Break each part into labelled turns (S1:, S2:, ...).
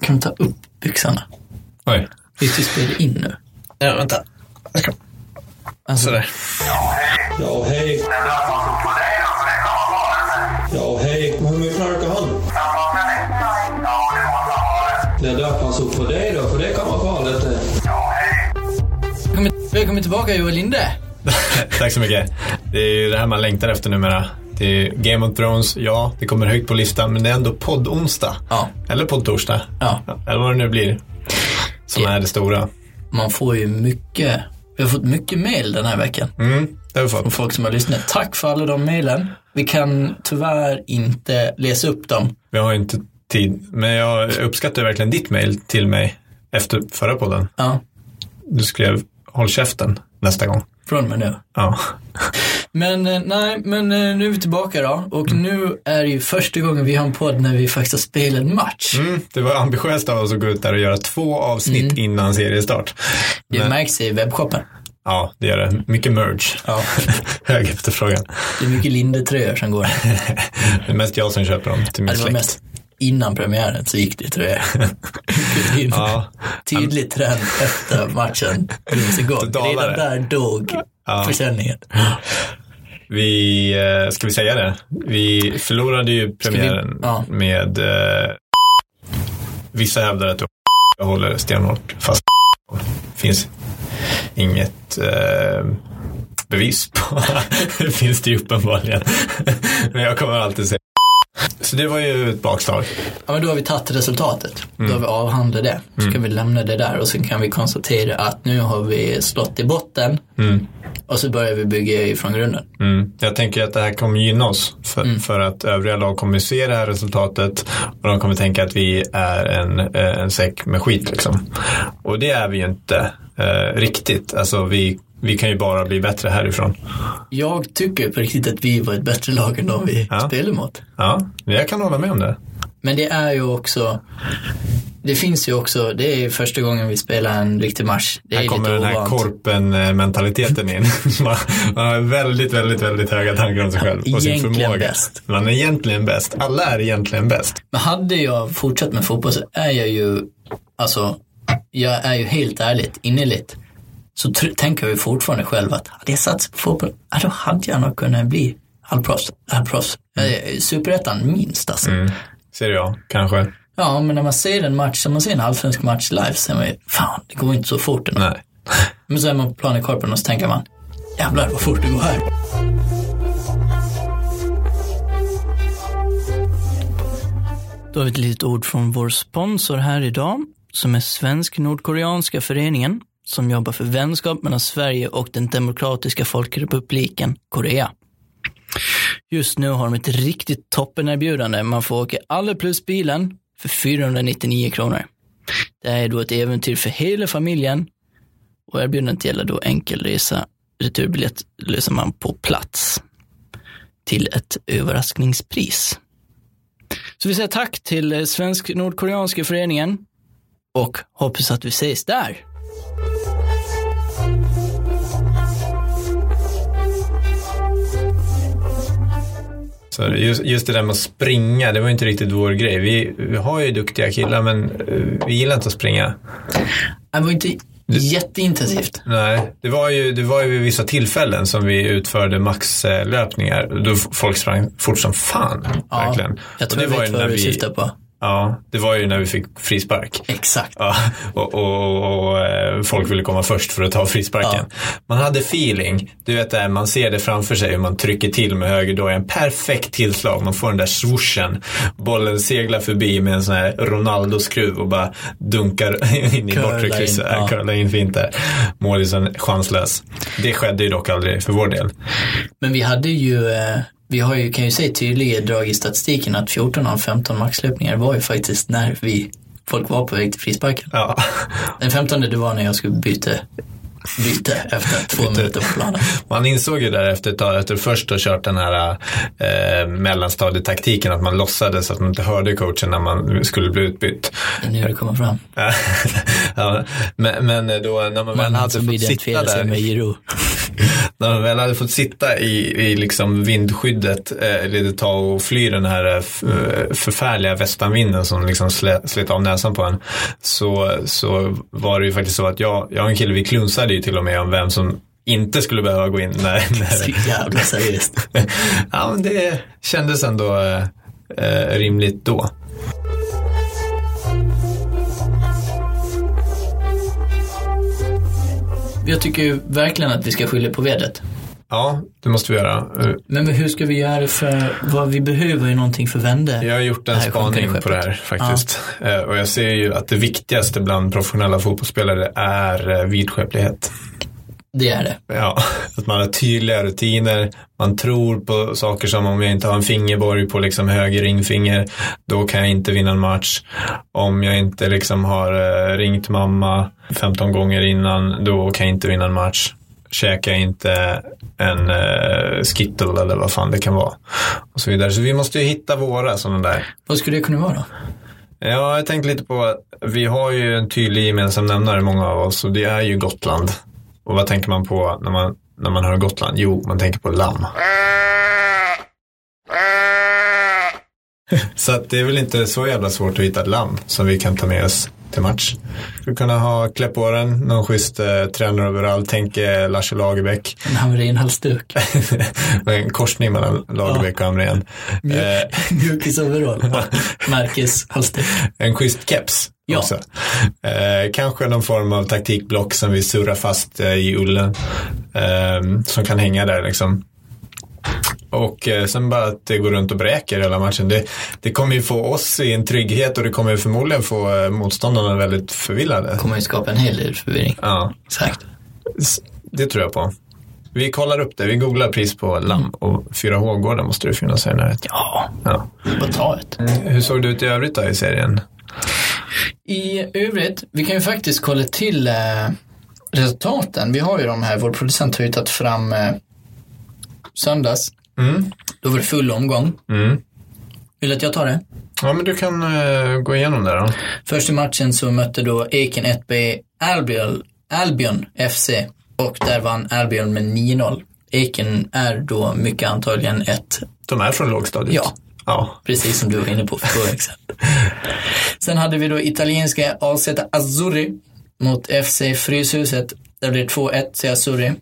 S1: Kan du ta upp byxorna?
S2: Oj.
S1: Vi typ spelar in nu.
S2: Ja, vänta.
S1: Alltså,
S2: Sådär.
S3: Ja, hej. Ja, hej. Men hur mycket knark har han? Det där passar upp för dig då, för det kan vara farligt det.
S1: välkommen, välkommen tillbaka Joel Linde.
S2: Tack så mycket. Det är ju det här man längtar efter numera. Det är Game of Thrones, ja, det kommer högt på listan, men det är ändå podd-onsdag.
S1: Ja.
S2: Eller podd-torsdag.
S1: Ja,
S2: Eller vad det nu blir. Som
S1: Ja.
S2: är det stora.
S1: man får ju mycket. Vi har fått mycket mail den här veckan.
S2: Mm, det har vi
S1: Från
S2: fått.
S1: folk som har lyssnat. Tack för alla de mailen. Vi kan tyvärr inte läsa upp dem.
S2: Vi har ju inte tid. Men jag uppskattar verkligen ditt mail till mig efter förra podden.
S1: Ja,
S2: Du skrev håll käften nästa gång.
S1: från och med nu.
S2: Ja.
S1: Men eh, nej, men eh, nu är vi tillbaka då. Och
S2: Mm.
S1: nu är det ju första gången vi har en podd när vi faktiskt har spelat en match.
S2: Mm, det var ambitiöst av oss att gå ut där och göra två avsnitt
S1: Mm.
S2: innan seriestart.
S1: Det märks i webbshoppen.
S2: Ja, det gör det. Mycket merge.
S1: Ja.
S2: Hög efterfrågan.
S1: Det är mycket Linde-tröjor som går.
S2: Det är mest jag som köper dem till min
S1: Ja, Det var
S2: släkt.
S1: mest innan premiären så gick det tröjor. Det är en
S2: Ja,
S1: Tydlig trend efter matchen finns igång.
S2: Dalare.
S1: Redan där dog försäljningen.
S2: vi, eh, ska vi säga det? Vi förlorade ju premiären
S1: ja.
S2: med... Eh, vissa hävdar att jag håller stenhårt fast finns inget eh, bevis på. det finns det ju uppenbarligen. Men jag kommer alltid säga Så det var ju ett bakslag.
S1: Ja, men då har vi tagit resultatet. Då
S2: Mm.
S1: har vi avhandlat det. Så kan vi lämna det där och sen kan vi konstatera att nu har vi slått i botten och så börjar vi bygga ifrån grunden.
S2: Mm. Jag tänker att det här kommer gynna oss för,
S1: Mm.
S2: för att övriga lag kommer se det här resultatet och de kommer tänka att vi är en, eh, en säck med skit. Liksom. Och det är vi ju inte eh, riktigt. Alltså, vi, vi kan ju bara bli bättre härifrån.
S1: Jag tycker på riktigt att vi var ett bättre lag än de vi
S2: Ja.
S1: spelade mot.
S2: Ja, jag kan hålla med om det.
S1: Men det är ju också, det finns ju också, det är ju första gången vi spelar en riktig match. Det är
S2: Här kommer
S1: lite
S2: den här
S1: ovant.
S2: korpen-mentaliteten in. man, man har väldigt, väldigt, väldigt höga tankar om sig själv och sin
S1: Egentligen
S2: förmåga.
S1: bäst.
S2: Man är egentligen bäst. Alla är egentligen bäst.
S1: Men hade jag fortsatt med fotboll så är jag ju, alltså, jag är ju helt ärligt, innerligt, så tr- tänker jag ju fortfarande själv att hade jag satsat på fotboll, ja, då hade jag nog kunnat bli halvproffs. halvproffs. Mm. Superettan minst alltså.
S2: Ser jag, kanske.
S1: Ja, men när man ser en match, som man ser en allsvensk match live, så är man ju, fan, det går inte så fort ändå.
S2: Nej.
S1: Men så är man på plan i korpen och så tänker man, jävlar vad fort det går här. Då har vi ett litet ord från vår sponsor här idag, som är Svensk Nordkoreanska Föreningen, som jobbar för vänskap mellan Sverige och den demokratiska folkrepubliken Korea. Just nu har de ett riktigt toppenerbjudande. Man får åka alla plus bilen för 499 kronor. Det här är då ett äventyr för hela familjen och erbjudandet gäller då enkelresa, returbiljett löser man på plats till ett överraskningspris. Så vi säger tack till eh, Svensk Nordkoreanska Föreningen och hoppas att vi ses där.
S2: Så just, just det där med att springa, det var inte riktigt vår grej. Vi, vi har ju duktiga killar, men eh, vi gillar inte att springa.
S1: Det var inte jätteintensivt.
S2: Nej, det var ju, det var ju vid vissa tillfällen som vi utförde maxlöpningar. Då f- folk sprang fort som fan, verkligen.
S1: jag
S2: Och
S1: tror jag
S2: det var
S1: vet
S2: ju
S1: vad
S2: när
S1: du
S2: vi-
S1: syftar på.
S2: Ja, det var ju när vi fick frispark.
S1: Exakt.
S2: Ja, och, och, och, och eh, folk ville komma först för att ta frisparken. Man hade feeling. Du vet det här, man ser det framför sig hur man trycker till med höger då. En perfekt tillslag. Man får den där swooshen. Bollen seglar förbi med en sån här Ronaldo-skruv och bara dunkar in i
S1: Curlar
S2: bortre
S1: in,
S2: krysset.
S1: ja.
S2: Ja. Curlar in fint där. Målisen chanslös. Det skedde ju dock aldrig för vår del.
S1: Men vi hade ju, eh, vi har ju, kan ju se tydliga drag i statistiken att 14 av 15 maxlöpningar var ju faktiskt när vi, folk var på väg till frisparken.
S2: Ja.
S1: Den 15 det var när jag skulle byta, byta efter två minuter på planen.
S2: Man insåg ju där efter ett tag, efter först att ha kört den här eh, mellanstadietaktiken, att man låtsades att man inte hörde coachen när man skulle bli utbytt.
S1: Det är nu det kommer fram.
S2: ja, men, men då när man väl
S1: Mannen
S2: hade
S1: som alltså,
S2: fått sitta
S1: identifierar sig
S2: där,
S1: med Giro.
S2: När de väl hade fått sitta i, i liksom vindskyddet, eh, lite tag och fly den här eh, f- eh, förfärliga västanvinden som liksom slä, slet av näsan på en, så, så var det ju faktiskt så att jag, jag och en kille, vi klunsade ju till och med om vem som inte skulle behöva gå in när,
S1: Så
S2: när,
S1: jävla seriöst.
S2: ja, men det kändes ändå eh, eh, rimligt då.
S1: Jag tycker ju verkligen att vi ska skylla på vädret.
S2: Ja, det måste vi göra. Eh,
S1: Men hur ska vi göra för, vad vi behöver är någonting för vände.
S2: Jag har gjort en
S1: Det här
S2: spaning
S1: sjunkande
S2: på det här faktiskt. Eh, Och jag ser ju att det viktigaste bland professionella fotbollsspelare är eh, vidskeplighet.
S1: Det är det.
S2: Ja, att man har tydliga rutiner, man tror på saker som om jag inte har en fingerborg på liksom höger ringfinger, då kan jag inte vinna en match. Om jag inte liksom har eh, ringt mamma 15 gånger innan, då kan jag inte vinna en match. Käkar jag inte en eh, skittle eller vad fan det kan vara. Och så vidare. Så vi måste ju hitta våra sådana där.
S1: Vad skulle det kunna vara då?
S2: Ja, jag tänkte lite på att vi har ju en tydlig gemensam nämnare många av oss och det är ju Gotland. Och vad tänker man på när man, när man hör Gotland? Jo, man tänker på lamm. Så att det är väl inte så jävla svårt att hitta ett lamm som vi kan ta med oss till match. Skulle kunna ha klä på den, någon schysst eh, tränaroverall, tänk eh, Lasse Lagerbäck.
S1: En haverienhalsduk?
S2: en korsning mellan Lagerbäck och Hamrén. Eh,
S1: Mjukisoverall? Ja. Märkeshalsduk?
S2: En schysst keps
S1: Ja.
S2: också. Eh, kanske någon form av taktikblock som vi surrar fast eh, i ullen. Eh, som kan hänga där liksom. Och eh, sen bara att det går runt och bräker hela matchen. Det, det kommer ju få oss i en trygghet och det kommer förmodligen få eh, motståndarna väldigt förvillade.
S1: Kommer ju skapa en hel del förvirring.
S2: Ja,
S1: Exakt.
S2: s- det tror jag på. Vi kollar upp det. Vi googlar pris på lamm och 4H-gården måste det finnas här i närheten.
S1: Ja,
S2: Ja.
S1: bara ta det.
S2: Hur såg det ut i övrigt då i serien?
S1: I övrigt, vi kan ju faktiskt kolla till eh, resultaten. Vi har ju de här, vår producent har ju tagit fram eh, söndags.
S2: Mm.
S1: Då var det full omgång.
S2: Mm.
S1: Vill du att jag tar det?
S2: Ja, men du kan eh, gå igenom det då.
S1: Först i matchen så mötte då Eken 1B Albion, Albion FC och där vann Albion med 9-0. Eken är då mycket antagligen ett,
S2: De är från lågstadiet?
S1: Ja.
S2: Ja.
S1: precis som du var inne på för två exempel. Sen hade vi då italienska AZ Azzurri mot FC Fryshuset. Där blev det 2-1 till Azzurri.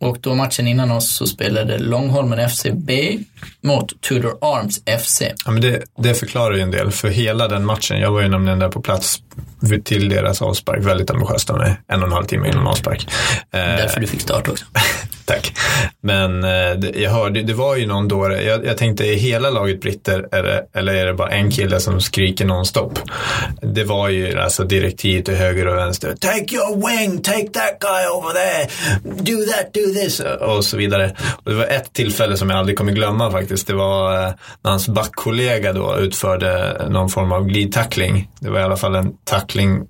S1: Och då matchen innan oss så spelade Långholmen FC B mot Tudor Arms FC.
S2: ja men det, det förklarar ju en del, för hela den matchen, jag var ju nämligen där på plats vid- till deras avspark, väldigt ambitiöst av mig, en och en halv timme innan avspark. Eh,
S1: Därför du fick start också.
S2: tack. Men eh, det, jag hörde, det var ju någon dåre, jag, jag tänkte är hela laget britter är det, eller är det bara en kille som skriker nonstop? Det var ju alltså direktiv till höger och vänster. Take your wing, take that guy over there, do that, do this och så vidare. Och det var ett tillfälle som jag aldrig kommer glömma faktiskt. Det var eh, när hans backkollega då utförde någon form av glidtackling. Det var i alla fall en tackling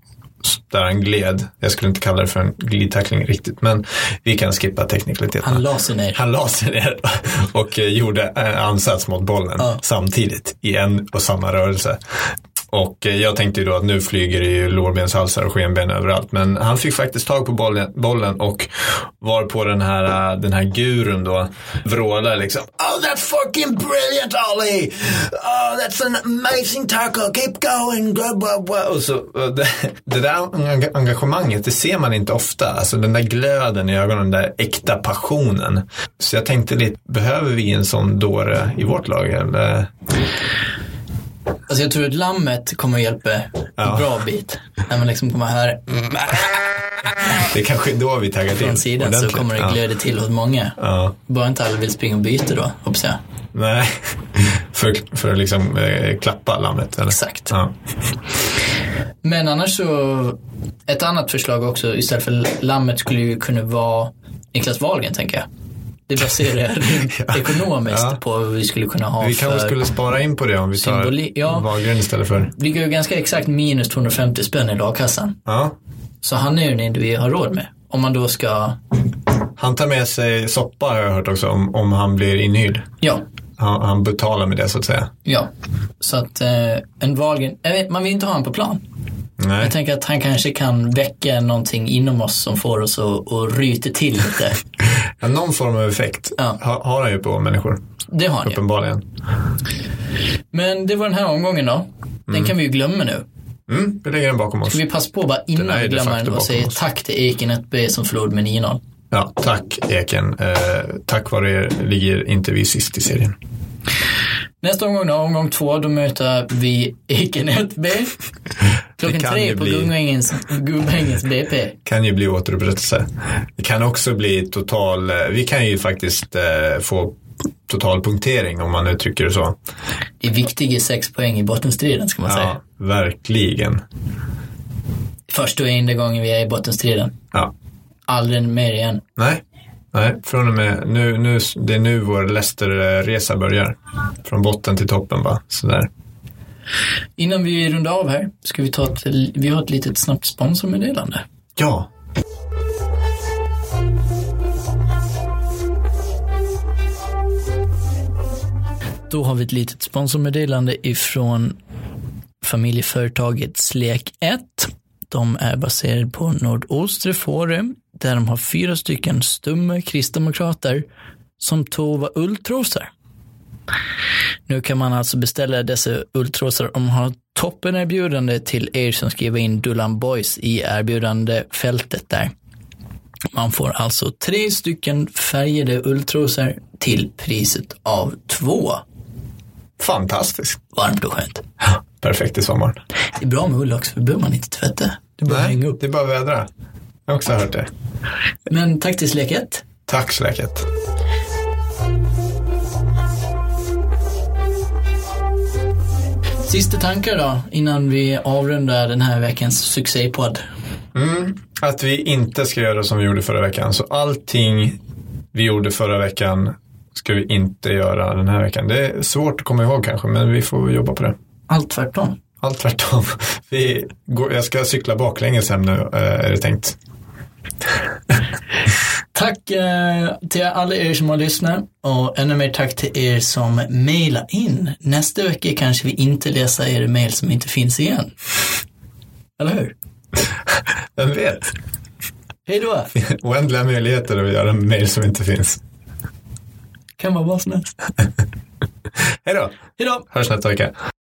S2: där han gled. Jag skulle inte kalla det för en glidtackling riktigt, men vi kan skippa teknikaliteterna.
S1: Han la sig ner.
S2: Han la sig ner och eh, gjorde en ansats mot bollen
S1: Ja.
S2: samtidigt i en och samma rörelse. Och eh, jag tänkte ju då att nu flyger det ju lårbenshalsar och skenben överallt. Men han fick faktiskt tag på bollen, bollen och var på den här, eh, den här gurun då vrålar liksom. Oh that's fucking brilliant Ollie! Oh that's an amazing tackle, keep going! Blah, blah, blah. Och så, och det, det där enga- engagemanget, det ser man inte ofta. Alltså den där glöden i ögonen, den där äkta passionen. Så jag tänkte lite, behöver vi en sån dåre i vårt lag? Eller?
S1: Alltså jag tror att lammet kommer att hjälpa
S2: Ja. Mm.
S1: en bra bit. När man liksom kommer här
S2: Det är kanske är då vi taggar till.
S1: från sidan så
S2: ordentligt.
S1: kommer det glöda till hos många.
S2: Ja. ja.
S1: Bara inte alla vill springa och byta då, hoppas jag.
S2: Nej, för, för att liksom eh, klappa lammet. Eller?
S1: Exakt.
S2: Ja.
S1: Men annars så, ett annat förslag också istället för lammet skulle ju kunna vara Niklas Wahlgren tänker jag. Det baserar jag rent ekonomiskt
S2: Ja.
S1: på vad vi skulle kunna ha
S2: Vi
S1: för...
S2: kanske skulle spara in på det om vi tar
S1: Symboli- ja.
S2: Wahlgren istället för...
S1: Det ligger ju ganska exakt minus 250 spänn i a-kassan.
S2: Ja.
S1: Så han är ju den individ vi har råd med. Om man då ska,
S2: Han tar med sig soppa har jag hört också om, om han blir inhyrd.
S1: ja,
S2: Han, han betalar med det så att säga.
S1: ja. Så att eh, en Wahlgren, jag vet, man vill inte ha honom på plan.
S2: Nej.
S1: Jag tänker att han kanske kan väcka någonting inom oss som får oss att, att ryta till lite.
S2: Ja, någon form av effekt
S1: Ja.
S2: har, har han ju på människor,
S1: Det har han ju.
S2: uppenbarligen.
S1: Men det var den här omgången då. Den kan vi ju glömma nu.
S2: Mm, vi lägger den bakom oss.
S1: Vi passar på bara
S2: Den är
S1: innan
S2: ju
S1: vi
S2: de
S1: glömmer
S2: facto
S1: den och
S2: bakom
S1: säger
S2: oss.
S1: tack till Eken 1B som förlorade med 9-0.
S2: Ja, tack Eken. Eh, tack vare er ligger inte vi sist i serien.
S1: Nästa omgång då, omgång två, då möter vi Eken 1B. Klockan
S2: Det kan
S1: tre
S2: ju
S1: på
S2: bli-
S1: Gubbängens, Gubbängens BP.
S2: Kan ju bli återupprättelse. Det kan också bli total, eh, vi kan ju faktiskt eh, få total punktering om man uttrycker det så.
S1: Det är viktiga sex poäng i bottenstriden ska man säga.
S2: Ja, verkligen.
S1: Första och enda gången vi är i bottenstriden.
S2: Ja.
S1: Aldrig mer igen.
S2: Nej. Nej, från och med nu, nu, det är nu vår Leicester-resa börjar. Från botten till toppen bara, sådär.
S1: Innan vi rundar av här, ska vi ta ett, vi har ett litet snabbt sponsormeddelande.
S2: Ja.
S1: Då har vi ett litet sponsormeddelande ifrån familjeföretaget Slek 1. De är baserade på Nordostre Forum där de har fyra stycken stumma kristdemokrater som tovar ulltrosor. Nu kan man alltså beställa dessa ulltrosor om man har ett toppenerbjudande till er som skriver in Dullan Boys i erbjudandefältet där. Man får alltså tre stycken färgade ulltrosor till priset av två.
S2: Fantastiskt.
S1: Varmt och skönt.
S2: Perfekt i sommaren.
S1: Det är bra med ull också, för då behöver man inte tvätta. Det är bara att hänga upp.
S2: det är bara att vädra. Jag har också hört det.
S1: Men tack till Slek 1.
S2: Tack Släket.
S1: Sista tankar då, innan vi avrundar den här veckans succépodd.
S2: Att vi inte ska göra som vi gjorde förra veckan. Så allting vi gjorde förra veckan ska vi inte göra den här veckan. Det är svårt att komma ihåg kanske, men vi får jobba på det.
S1: Allt tvärtom.
S2: Allt tvärtom. Vi går, jag ska cykla baklänges hem nu, eh, är det tänkt.
S1: Tack eh, till alla er som har lyssnat och ännu mer tack till er som mejlar in. Nästa vecka kanske vi inte läser er mejl som inte finns igen. Eller hur?
S2: Vem vet?
S1: Hej då!
S2: Oändliga möjligheter att göra en mail som inte finns.
S1: Kan vara vad som helst.
S2: Hej då!
S1: Hej då!
S2: Hörs nästa vecka.